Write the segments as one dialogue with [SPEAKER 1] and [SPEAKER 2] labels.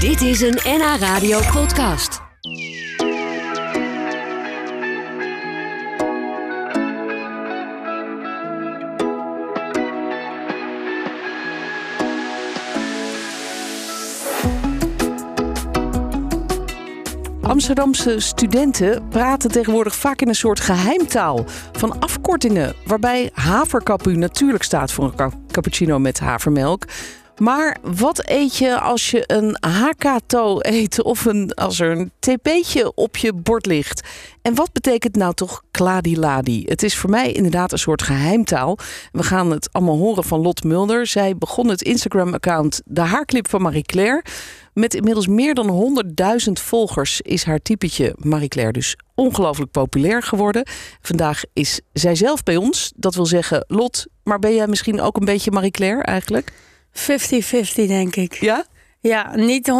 [SPEAKER 1] Dit is een NH Radio podcast.
[SPEAKER 2] Amsterdamse studenten praten tegenwoordig vaak in een soort geheimtaal van afkortingen, waarbij haverkapu natuurlijk staat voor een ca- cappuccino met havermelk. Maar wat eet je als je een hakato eet of een, als er een tp'tje op je bord ligt? En wat betekent nou toch kladiladi? Het is voor mij inderdaad een soort geheimtaal. We gaan het allemaal horen van Lot Mulder. Zij begon het Instagram-account De Haarclip van Marie Claire. Met inmiddels meer dan 100.000 volgers is haar typetje Marie Claire dus ongelooflijk populair geworden. Vandaag is zij zelf bij ons. Dat wil zeggen, Lot, maar ben jij misschien ook een beetje Marie Claire eigenlijk?
[SPEAKER 3] 50-50, denk ik.
[SPEAKER 2] Ja?
[SPEAKER 3] Ja, niet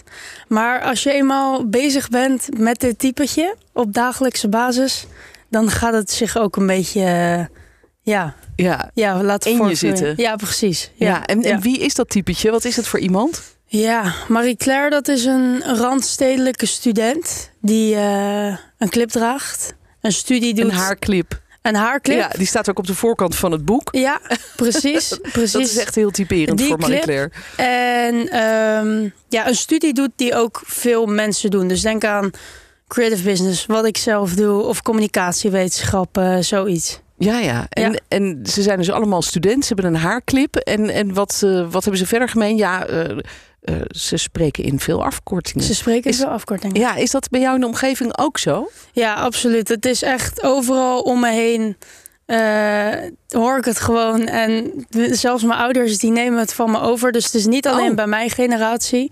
[SPEAKER 3] 100%. Maar als je eenmaal bezig bent met dit typetje op dagelijkse basis, dan gaat het zich ook een beetje eh, ja,
[SPEAKER 2] Ja.
[SPEAKER 3] ja, laten
[SPEAKER 2] In je
[SPEAKER 3] voortvloeien.
[SPEAKER 2] zitten.
[SPEAKER 3] Ja, precies.
[SPEAKER 2] Ja, en, en
[SPEAKER 3] ja.
[SPEAKER 2] wie is dat typetje? Wat is het voor iemand?
[SPEAKER 3] Ja, Marie Claire, dat is een randstedelijke student die eh, een clip draagt, een studie doet,
[SPEAKER 2] Een haarclip.
[SPEAKER 3] een haarclip.
[SPEAKER 2] Ja, die staat ook op de voorkant van het boek.
[SPEAKER 3] Ja, precies, precies.
[SPEAKER 2] Dat is echt heel typerend
[SPEAKER 3] Die
[SPEAKER 2] voor Marie
[SPEAKER 3] clip.
[SPEAKER 2] Claire.
[SPEAKER 3] En ehm, ja, een studie doet die ook veel mensen doen. Dus denk aan creative business, wat ik zelf doe, of communicatiewetenschappen, zoiets.
[SPEAKER 2] Ja, ja. En,
[SPEAKER 3] Ja.
[SPEAKER 2] en ze zijn dus allemaal student. Ze hebben een haarclip. En, en wat, eh, wat hebben ze verder gemeen? Ja, eh, eh, ze spreken in veel afkortingen.
[SPEAKER 3] Ze spreken
[SPEAKER 2] Is-
[SPEAKER 3] zo afkorting. Ja.
[SPEAKER 2] Ja, is dat bij jou in de omgeving ook zo?
[SPEAKER 3] absoluut. Het is echt overal om me heen. eh, hoor ik het gewoon. En zelfs mijn ouders die nemen het van me over. Dus het is niet alleen
[SPEAKER 2] Oh.
[SPEAKER 3] bij mijn generatie.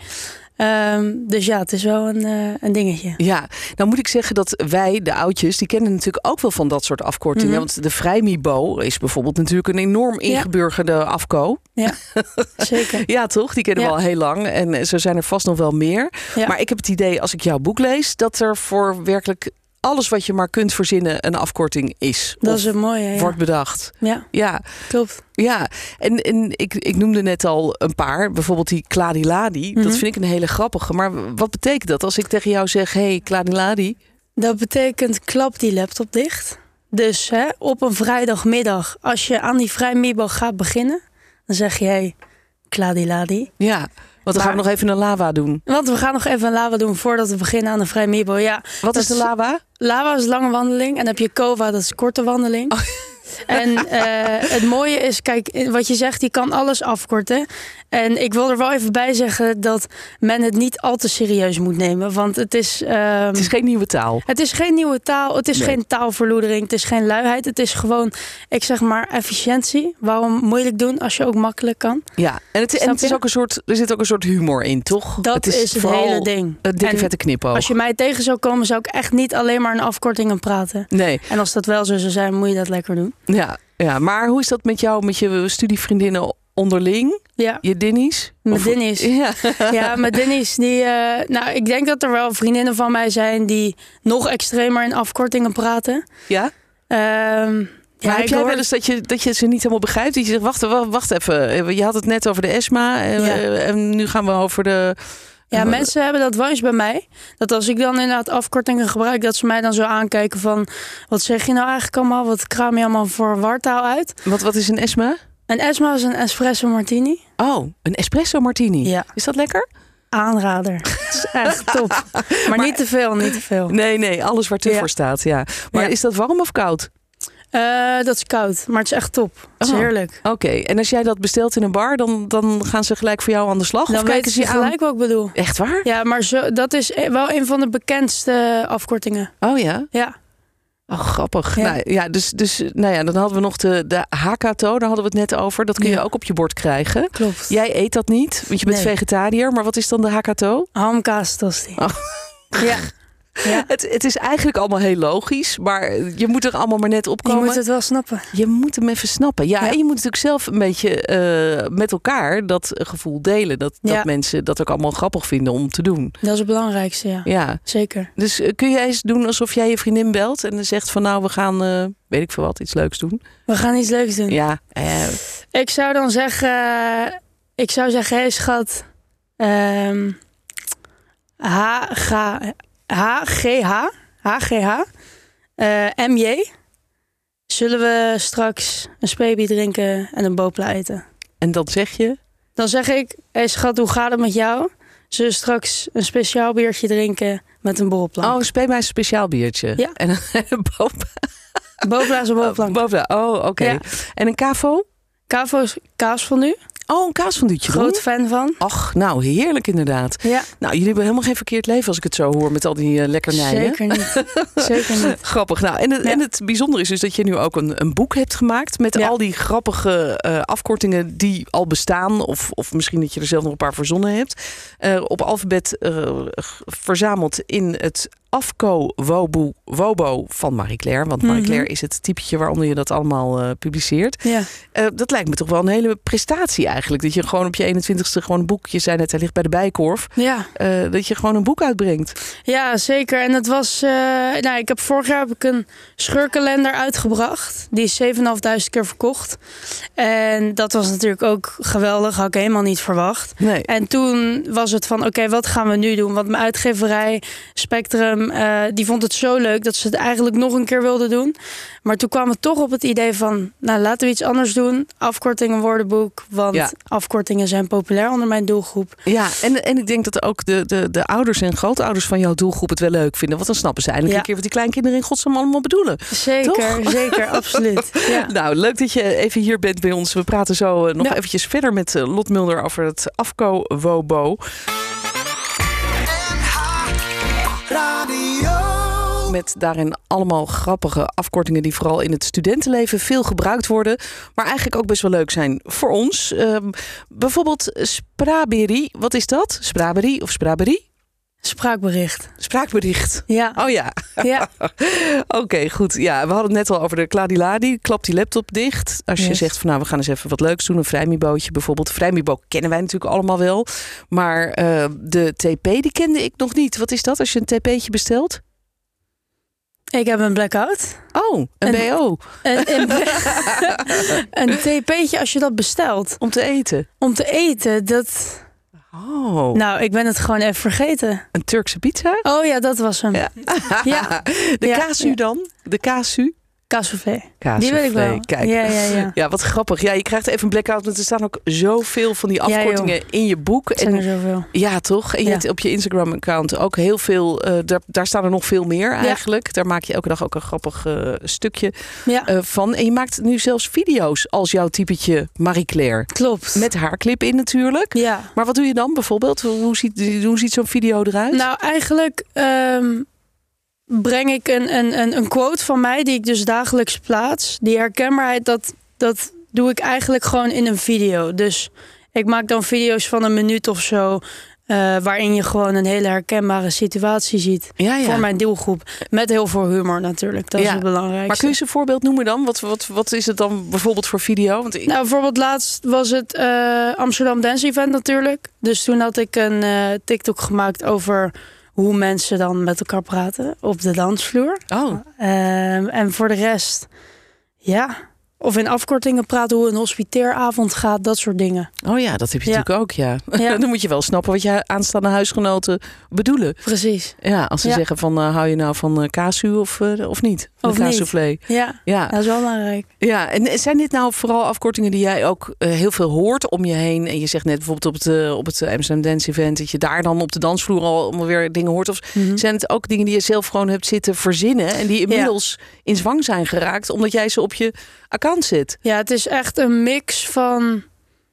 [SPEAKER 3] Ehm, dus ja, het is wel een, eh, een dingetje.
[SPEAKER 2] Ja, nou moet ik zeggen dat wij, de oudjes, die kennen natuurlijk ook wel van dat soort afkortingen.
[SPEAKER 3] Mhm.
[SPEAKER 2] Want de vrijmibo is bijvoorbeeld natuurlijk een enorm ingeburgerde afko.
[SPEAKER 3] Zeker.
[SPEAKER 2] Ja, toch? Die kennen we
[SPEAKER 3] Ja.
[SPEAKER 2] al heel lang. En eh, zo zijn er vast nog wel meer.
[SPEAKER 3] Ja.
[SPEAKER 2] Maar ik heb het idee, als ik jouw boek lees, dat er voor werkelijk alles wat je maar kunt verzinnen een afkorting is.
[SPEAKER 3] Dat
[SPEAKER 2] Of
[SPEAKER 3] is een mooie. Ja,
[SPEAKER 2] wordt bedacht.
[SPEAKER 3] ja
[SPEAKER 2] Ja,
[SPEAKER 3] klopt.
[SPEAKER 2] ja. En, en ik, ik noemde net al een paar. Bijvoorbeeld die Kladiladi. Dat
[SPEAKER 3] Mhm.
[SPEAKER 2] vind ik een hele grappige. Maar wat betekent dat als ik tegen jou zeg... hey, Kladiladi?
[SPEAKER 3] Dat betekent klap die laptop dicht. Dus hè, op een vrijdagmiddag, als je aan die vrijmiddag gaat beginnen, dan zeg je hey, kladiladi.
[SPEAKER 2] Ja, want dan gaan
[SPEAKER 3] Maar-
[SPEAKER 2] we nog even een lava doen.
[SPEAKER 3] Want we gaan nog even een lava doen voordat we beginnen aan de vrijmiddag. Ja,
[SPEAKER 2] Wat
[SPEAKER 3] Dat
[SPEAKER 2] is de
[SPEAKER 3] is-
[SPEAKER 2] lava?
[SPEAKER 3] lava is lange wandeling en dan heb je kova, dat is korte wandeling. En eh, het mooie is, kijk, wat je zegt, je kan alles afkorten. En ik wil er wel even bij zeggen dat men het niet al te serieus moet nemen. Want het is... ehm,
[SPEAKER 2] Het is geen nieuwe taal.
[SPEAKER 3] het is geen nieuwe taal, het is
[SPEAKER 2] Nee.
[SPEAKER 3] geen taalverloedering, het is geen luiheid. Het is gewoon, ik zeg maar, efficiëntie. Waarom moeilijk doen als je ook makkelijk kan?
[SPEAKER 2] Ja, en, het, en
[SPEAKER 3] Snap
[SPEAKER 2] het is
[SPEAKER 3] je?
[SPEAKER 2] ook een soort, er zit ook een soort humor in, toch?
[SPEAKER 3] Dat is het
[SPEAKER 2] vooral
[SPEAKER 3] hele ding.
[SPEAKER 2] Een dikke
[SPEAKER 3] En
[SPEAKER 2] vette knipoog.
[SPEAKER 3] Als je mij tegen zou komen, zou ik echt niet alleen maar een afkorting aan praten.
[SPEAKER 2] Nee,
[SPEAKER 3] En als dat wel zo zou zijn, moet je dat lekker doen.
[SPEAKER 2] ja, ja. Maar hoe is dat met jou, met je studievriendinnen onderling?
[SPEAKER 3] Ja,
[SPEAKER 2] Je dinnies?
[SPEAKER 3] met
[SPEAKER 2] Of-
[SPEAKER 3] Dennis.
[SPEAKER 2] Ja.
[SPEAKER 3] Ja, met Dennis. Die, eh, nou, ik denk dat er wel vriendinnen van mij zijn die nog extremer in afkortingen praten.
[SPEAKER 2] ja?
[SPEAKER 3] Ehm,
[SPEAKER 2] maar heb
[SPEAKER 3] ik
[SPEAKER 2] jij
[SPEAKER 3] hoor-
[SPEAKER 2] wel eens dat je, dat je ze niet helemaal begrijpt? Dat je zegt, wacht, wa- wacht even. eh, Je had het net over de ESMA. eh,
[SPEAKER 3] Ja.
[SPEAKER 2] eh, En nu gaan we over de...
[SPEAKER 3] Ja,
[SPEAKER 2] Wa-
[SPEAKER 3] mensen hebben dat wel eens bij mij. Dat als ik dan inderdaad afkortingen gebruik, dat ze mij dan zo aankijken van... Wat zeg je nou eigenlijk allemaal? Wat kraam je allemaal voor wartaal uit?
[SPEAKER 2] Wat, wat is een ESMA?
[SPEAKER 3] Een Esma is een espresso martini.
[SPEAKER 2] Oh, een espresso martini.
[SPEAKER 3] Ja.
[SPEAKER 2] Is dat lekker?
[SPEAKER 3] Aanrader. Het is echt top. Maar, niet te veel, niet te veel.
[SPEAKER 2] Nee, nee, alles waar te
[SPEAKER 3] Ja.
[SPEAKER 2] voor staat, ja. Maar
[SPEAKER 3] Ja.
[SPEAKER 2] is dat warm of koud?
[SPEAKER 3] Eh, dat is koud, maar het is echt top. Het is
[SPEAKER 2] Oh.
[SPEAKER 3] heerlijk.
[SPEAKER 2] Oké, en als jij dat bestelt in een bar, dan, dan gaan ze gelijk voor jou aan de slag?
[SPEAKER 3] Dan
[SPEAKER 2] of kijken
[SPEAKER 3] weten
[SPEAKER 2] ze
[SPEAKER 3] ze
[SPEAKER 2] je aan?
[SPEAKER 3] gelijk wat ik bedoel.
[SPEAKER 2] Echt waar?
[SPEAKER 3] Ja, maar zo, dat is e- wel een van de bekendste afkortingen.
[SPEAKER 2] Oh ja?
[SPEAKER 3] Ja,
[SPEAKER 2] Oh, grappig.
[SPEAKER 3] Ja.
[SPEAKER 2] Nou, ja, dus, dus nou ja, dan hadden we nog de, de hakato, daar hadden we het net over. Dat kun je
[SPEAKER 3] Ja.
[SPEAKER 2] ook op je bord krijgen.
[SPEAKER 3] klopt. Ja.
[SPEAKER 2] Jij eet dat niet, want je bent
[SPEAKER 3] Nee.
[SPEAKER 2] vegetariër. Maar wat is dan de hakato?
[SPEAKER 3] Hamkaas tosti.
[SPEAKER 2] Oh.
[SPEAKER 3] Ja. ja.
[SPEAKER 2] Het, het is eigenlijk allemaal heel logisch, maar je moet er allemaal maar net
[SPEAKER 3] Je
[SPEAKER 2] opkomen.
[SPEAKER 3] moet het wel snappen.
[SPEAKER 2] Je moet hem even snappen. Ja,
[SPEAKER 3] Ja.
[SPEAKER 2] en je moet natuurlijk zelf een beetje eh, met elkaar dat gevoel delen. Dat,
[SPEAKER 3] Ja.
[SPEAKER 2] dat mensen dat ook allemaal grappig vinden om te doen.
[SPEAKER 3] Dat is het belangrijkste, ja.
[SPEAKER 2] Ja.
[SPEAKER 3] Zeker.
[SPEAKER 2] Dus eh, kun jij eens doen alsof jij je vriendin belt en dan zegt van nou, we gaan, eh, weet ik veel wat, iets leuks doen.
[SPEAKER 3] We gaan iets leuks doen.
[SPEAKER 2] Ja, eh,
[SPEAKER 3] Ik zou dan zeggen... Ik zou zeggen, hé schat... eh, ehm, HG, HGH. HGH. eh, MJ. Zullen we straks een speebier drinken en een bopla eten?
[SPEAKER 2] En dan zeg je,
[SPEAKER 3] Dan zeg ik, hey schat, hoe gaat het met jou? Zullen we straks een speciaal biertje drinken met een borrelplank?
[SPEAKER 2] oh, speel mij een speciaal biertje.
[SPEAKER 3] Ja.
[SPEAKER 2] En een boven-
[SPEAKER 3] Bopla is een borrelplank.
[SPEAKER 2] boven- Oh, oké.
[SPEAKER 3] Ja.
[SPEAKER 2] En een kavo?
[SPEAKER 3] Kavo is kaas van nu.
[SPEAKER 2] Oh, een kaasfonduutje.
[SPEAKER 3] Groot fan van.
[SPEAKER 2] Ach, nou, heerlijk inderdaad.
[SPEAKER 3] Ja,
[SPEAKER 2] Nou, jullie hebben helemaal geen verkeerd leven als ik het zo hoor met al die eh, lekkernijen.
[SPEAKER 3] zeker niet. zeker niet.
[SPEAKER 2] Grappig. Nou, en, het-
[SPEAKER 3] Ja.
[SPEAKER 2] en het bijzondere is dus dat je nu ook een, een boek hebt gemaakt met
[SPEAKER 3] Ja.
[SPEAKER 2] al die grappige eh, afkortingen die al bestaan. Of, of misschien dat je er zelf nog een paar verzonnen hebt. Eh, op alfabet eh, g- verzameld in het Afco Wobo, Wobo van Marie Claire. Want Marie
[SPEAKER 3] Mhm.
[SPEAKER 2] Claire is het typetje waaronder je dat allemaal eh, publiceert.
[SPEAKER 3] Ja.
[SPEAKER 2] Eh, dat lijkt me toch wel een hele prestatie eigenlijk. Dat je gewoon op je 21ste gewoon een boekje, zei net, hij ligt bij de Bijkorf.
[SPEAKER 3] ja.
[SPEAKER 2] eh, dat je gewoon een boek uitbrengt.
[SPEAKER 3] Ja, zeker. En het was. eh, nou, ik heb vorig jaar heb ik een scheurkalender uitgebracht. Die is 7.500 keer verkocht. En dat was natuurlijk ook geweldig. Had ik helemaal niet verwacht.
[SPEAKER 2] Nee.
[SPEAKER 3] En toen was het van: oké, wat gaan we nu doen? Want mijn uitgeverij, Spectrum, eh, die vond het zo leuk dat ze het eigenlijk nog een keer wilden doen. Maar toen kwam het toch op het idee van: nou, laten we iets anders doen. Afkortingen, woordenboek. Want
[SPEAKER 2] Ja.
[SPEAKER 3] afkortingen zijn populair onder mijn doelgroep.
[SPEAKER 2] Ja, en, en ik denk dat ook de, de, de ouders en grootouders van jouw doelgroep het wel leuk vinden. Want dan snappen ze eindelijk
[SPEAKER 3] Ja.
[SPEAKER 2] een keer wat die kleinkinderen in godsnaam allemaal bedoelen.
[SPEAKER 3] Zeker, zeker, absoluut. Ja.
[SPEAKER 2] Nou, leuk dat je even hier bent bij ons. We praten zo eh, nog
[SPEAKER 3] Ja.
[SPEAKER 2] eventjes verder met eh, Lot Mulder over het Afco Wobo. Met daarin allemaal grappige afkortingen die vooral in het studentenleven veel gebruikt worden. Maar eigenlijk ook best wel leuk zijn voor ons. Ehm, bijvoorbeeld Spraberi. Wat is dat? Spraberi of Spraberi?
[SPEAKER 3] Spraakbericht.
[SPEAKER 2] Spraakbericht.
[SPEAKER 3] Ja,
[SPEAKER 2] Oh ja,
[SPEAKER 3] ja,
[SPEAKER 2] oké, goed. Ja, we hadden het net al over de kladiladi. Klapt die laptop dicht. Als je
[SPEAKER 3] Yes.
[SPEAKER 2] zegt van nou, we gaan eens even wat leuks doen. Een vrijmibootje bijvoorbeeld. Vrijmibo kennen wij natuurlijk allemaal wel. Maar eh, de TP, die kende ik nog niet. Wat is dat als je een TP'tje bestelt?
[SPEAKER 3] ik heb een blackout.
[SPEAKER 2] Oh, een,
[SPEAKER 3] Een-
[SPEAKER 2] BO.
[SPEAKER 3] Een, een, een tp'tje als je dat bestelt.
[SPEAKER 2] Om te eten.
[SPEAKER 3] Om te eten, dat...
[SPEAKER 2] Oh,
[SPEAKER 3] Nou, ik ben het gewoon even vergeten.
[SPEAKER 2] een Turkse pizza?
[SPEAKER 3] Oh ja, dat was hem.
[SPEAKER 2] Ja.
[SPEAKER 3] Ja.
[SPEAKER 2] De
[SPEAKER 3] Ja.
[SPEAKER 2] kasu
[SPEAKER 3] Ja.
[SPEAKER 2] dan? De kasu?
[SPEAKER 3] Kaassoufflé.
[SPEAKER 2] Kasu.
[SPEAKER 3] Die weet ik wel.
[SPEAKER 2] Kijk,
[SPEAKER 3] Ja, ja, ja.
[SPEAKER 2] Ja, wat grappig. Ja, je krijgt even een blackout, want er staan ook zoveel van die
[SPEAKER 3] Ja, joh.
[SPEAKER 2] afkortingen in je boek.
[SPEAKER 3] Het zijn
[SPEAKER 2] En
[SPEAKER 3] er zoveel.
[SPEAKER 2] ja, toch? En je
[SPEAKER 3] Ja.
[SPEAKER 2] hebt op je Instagram-account ook heel veel. eh, daar, daar staan er nog veel meer eigenlijk. Daar maak je elke dag ook een grappig eh, stukje
[SPEAKER 3] Ja,
[SPEAKER 2] eh, van. En je maakt nu zelfs video's als jouw typetje Marie Claire.
[SPEAKER 3] klopt.
[SPEAKER 2] Met haar clip in natuurlijk.
[SPEAKER 3] Ja.
[SPEAKER 2] Maar wat doe je dan bijvoorbeeld? Hoe ziet, hoe ziet zo'n video eruit?
[SPEAKER 3] Nou, eigenlijk ehm, breng ik een, een, een, een quote van mij die ik dus dagelijks plaats. Die herkenbaarheid, dat, dat doe ik eigenlijk gewoon in een video. Dus ik maak dan video's van een minuut of zo. eh, waarin je gewoon een hele herkenbare situatie ziet.
[SPEAKER 2] ja, Ah ja.
[SPEAKER 3] Voor mijn doelgroep. Met heel veel humor natuurlijk. Dat
[SPEAKER 2] Ja.
[SPEAKER 3] is het belangrijkste.
[SPEAKER 2] Maar kun je eens een voorbeeld noemen dan? Wat, wat, wat is het dan bijvoorbeeld voor video? Want ik,
[SPEAKER 3] Nou, bijvoorbeeld laatst was het eh, Amsterdam Dance Event natuurlijk. Dus toen had ik een eh, TikTok gemaakt over hoe mensen dan met elkaar praten op de dansvloer.
[SPEAKER 2] oh,
[SPEAKER 3] Ehm, en voor de rest, ja. Of in afkortingen praten hoe een hospiteeravond gaat, dat soort dingen.
[SPEAKER 2] oh ja, dat heb je
[SPEAKER 3] Ja.
[SPEAKER 2] natuurlijk ook, ja.
[SPEAKER 3] Ja,
[SPEAKER 2] Dan moet je wel snappen wat je aanstaande huisgenoten bedoelen.
[SPEAKER 3] precies.
[SPEAKER 2] Ja, als ze
[SPEAKER 3] Ja.
[SPEAKER 2] zeggen van eh, hou je nou van eh kasu of, eh, of niet? Van
[SPEAKER 3] Of
[SPEAKER 2] de
[SPEAKER 3] niet.
[SPEAKER 2] kaassoufflé.
[SPEAKER 3] Ja,
[SPEAKER 2] Ja.
[SPEAKER 3] dat is wel belangrijk.
[SPEAKER 2] ja, en eh, zijn dit nou vooral afkortingen die jij ook eh, heel veel hoort om je heen? En je zegt net bijvoorbeeld op het, eh, op het eh, Amsterdam Dance Event... dat je daar dan op de dansvloer al allemaal weer dingen hoort. Of
[SPEAKER 3] Mhm.
[SPEAKER 2] zijn het ook dingen die je zelf gewoon hebt zitten verzinnen... en die inmiddels in zwang zijn geraakt omdat jij ze op je account zit?
[SPEAKER 3] Ja, het is echt een mix van,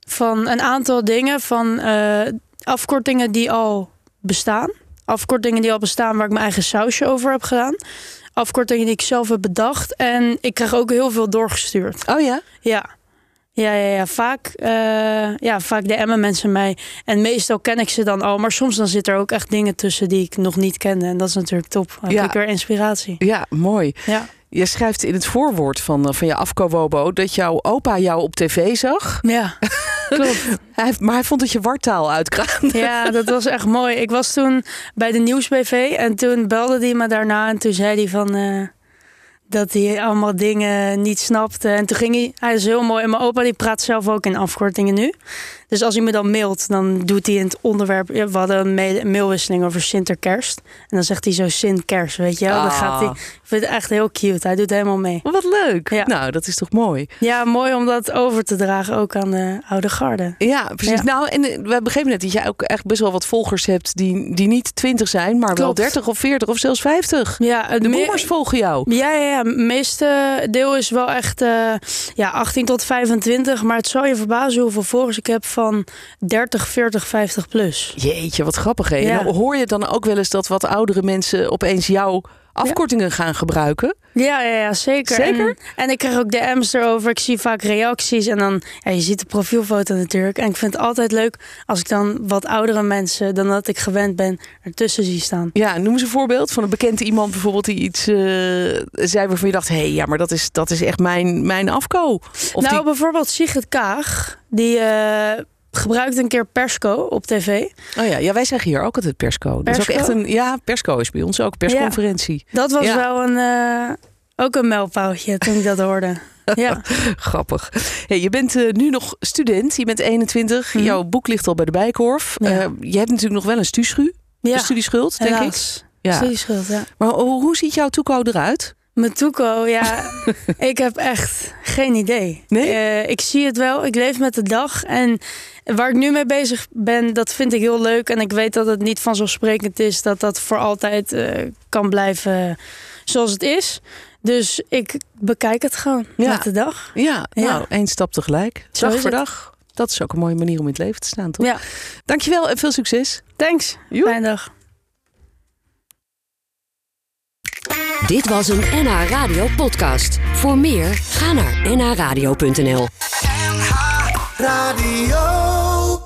[SPEAKER 3] van een aantal dingen. Van eh, afkortingen die al bestaan. Afkortingen die al bestaan waar ik mijn eigen sausje over heb gedaan. Afkortingen die ik zelf heb bedacht. En ik krijg ook heel veel doorgestuurd.
[SPEAKER 2] Oh ja?
[SPEAKER 3] Ja. Ja, ja, ja. Vaak, eh ja, vaak DM'en mensen mij. En meestal ken ik ze dan al. Maar soms dan zit er ook echt dingen tussen die ik nog niet kende. En dat is natuurlijk top. Dan
[SPEAKER 2] Ja.
[SPEAKER 3] heb ik weer inspiratie.
[SPEAKER 2] Ja, mooi.
[SPEAKER 3] Ja.
[SPEAKER 2] Je schrijft in het voorwoord van, eh, van je afkowobo... dat jouw opa jou op tv zag...
[SPEAKER 3] Ja, klopt.
[SPEAKER 2] Hij, heeft- maar hij vond dat je wartaal uitkraamde.
[SPEAKER 3] Ja, dat was echt mooi. Ik was toen bij de nieuwsbv en toen belde hij me daarna en toen zei hij van... eh, dat hij allemaal dingen niet snapte. En toen ging hij, hij is heel mooi. En mijn opa die praat zelf ook in afkortingen nu. Dus als hij me dan mailt, dan doet hij in het onderwerp. ja, We hadden een mail- mailwisseling over Sinterkerst. En dan zegt hij zo Sint-Kerst, weet je wel. Dan
[SPEAKER 2] Ah.
[SPEAKER 3] gaat hij. Ik vind het echt heel cute. Hij doet helemaal mee.
[SPEAKER 2] Wat leuk.
[SPEAKER 3] Ja.
[SPEAKER 2] Nou, dat is toch mooi.
[SPEAKER 3] Ja, mooi om dat over te dragen ook aan de oude garde.
[SPEAKER 2] Ja, precies.
[SPEAKER 3] Ja.
[SPEAKER 2] Nou, en eh, we begrepen net dat jij ook echt best wel wat volgers hebt die, die niet 20 zijn, maar wel
[SPEAKER 3] Klopt.
[SPEAKER 2] 30 of 40 of zelfs 50.
[SPEAKER 3] Ja, het
[SPEAKER 2] De
[SPEAKER 3] meer-
[SPEAKER 2] boomers volgen jou.
[SPEAKER 3] Ja, ja, ja. Het meeste deel is wel echt eh, ja, 18 tot 25. Maar het zal je verbazen hoeveel volgers ik heb van 30, 40, 50 plus.
[SPEAKER 2] Jeetje, wat grappig hè. En
[SPEAKER 3] Ja.
[SPEAKER 2] Hoor je dan ook wel eens dat wat oudere mensen opeens jouw afkortingen gaan gebruiken?
[SPEAKER 3] Ja, ja, ja zeker.
[SPEAKER 2] Zeker?
[SPEAKER 3] En, en ik krijg ook DM's erover. Ik zie vaak reacties. En dan, ja, je ziet de profielfoto natuurlijk. En ik vind het altijd leuk als ik dan wat oudere mensen dan dat ik gewend ben ertussen zie staan.
[SPEAKER 2] Ja, noem eens een voorbeeld van een bekende iemand bijvoorbeeld die iets eh, zei waarvan je dacht... hé, hey, ja, maar dat is, dat is echt mijn, mijn afko. Of
[SPEAKER 3] nou,
[SPEAKER 2] die...
[SPEAKER 3] bijvoorbeeld Sigrid Kaag. Die eh, gebruikt een keer Persco op tv.
[SPEAKER 2] Oh ja, ja, wij zeggen hier ook altijd persco. Dat is ook
[SPEAKER 3] Persco?
[SPEAKER 2] echt een... Ja, persco is bij ons ook, persconferentie.
[SPEAKER 3] Dat was
[SPEAKER 2] Ja.
[SPEAKER 3] wel een, eh, ook een mijlpaaltje toen ik dat hoorde. Ja,
[SPEAKER 2] Grappig. Hey, je bent eh, nu nog student, je bent 21.
[SPEAKER 3] Mhm.
[SPEAKER 2] Jouw boek ligt al bij de Bijkorf.
[SPEAKER 3] Ja.
[SPEAKER 2] Eh, je hebt natuurlijk nog wel een studieschu,
[SPEAKER 3] ja.
[SPEAKER 2] een studieschuld, denk ik.
[SPEAKER 3] helaas.
[SPEAKER 2] Ja.
[SPEAKER 3] Studieschuld, ja.
[SPEAKER 2] Maar hoe, hoe ziet jouw toekomst eruit?
[SPEAKER 3] Mijn toekomst, ja, ik heb echt geen idee.
[SPEAKER 2] Nee?
[SPEAKER 3] Eh, ik zie het wel, ik leef met de dag. En waar ik nu mee bezig ben, dat vind ik heel leuk. En ik weet dat het niet vanzelfsprekend is dat dat voor altijd eh, kan blijven zoals het is. Dus ik bekijk het gewoon
[SPEAKER 2] Ja.
[SPEAKER 3] met de dag.
[SPEAKER 2] Ja,
[SPEAKER 3] Ja.
[SPEAKER 2] nou, één stap tegelijk.
[SPEAKER 3] Zo
[SPEAKER 2] dag
[SPEAKER 3] is
[SPEAKER 2] voor
[SPEAKER 3] het.
[SPEAKER 2] dag. Dat is ook een mooie manier om in het leven te staan, toch?
[SPEAKER 3] Ja.
[SPEAKER 2] Dankjewel en veel succes.
[SPEAKER 3] Thanks,
[SPEAKER 2] Joep.
[SPEAKER 3] fijne dag.
[SPEAKER 1] Dit was een NH Radio podcast. Voor meer, ga naar nhradio.nl.
[SPEAKER 4] NH Radio.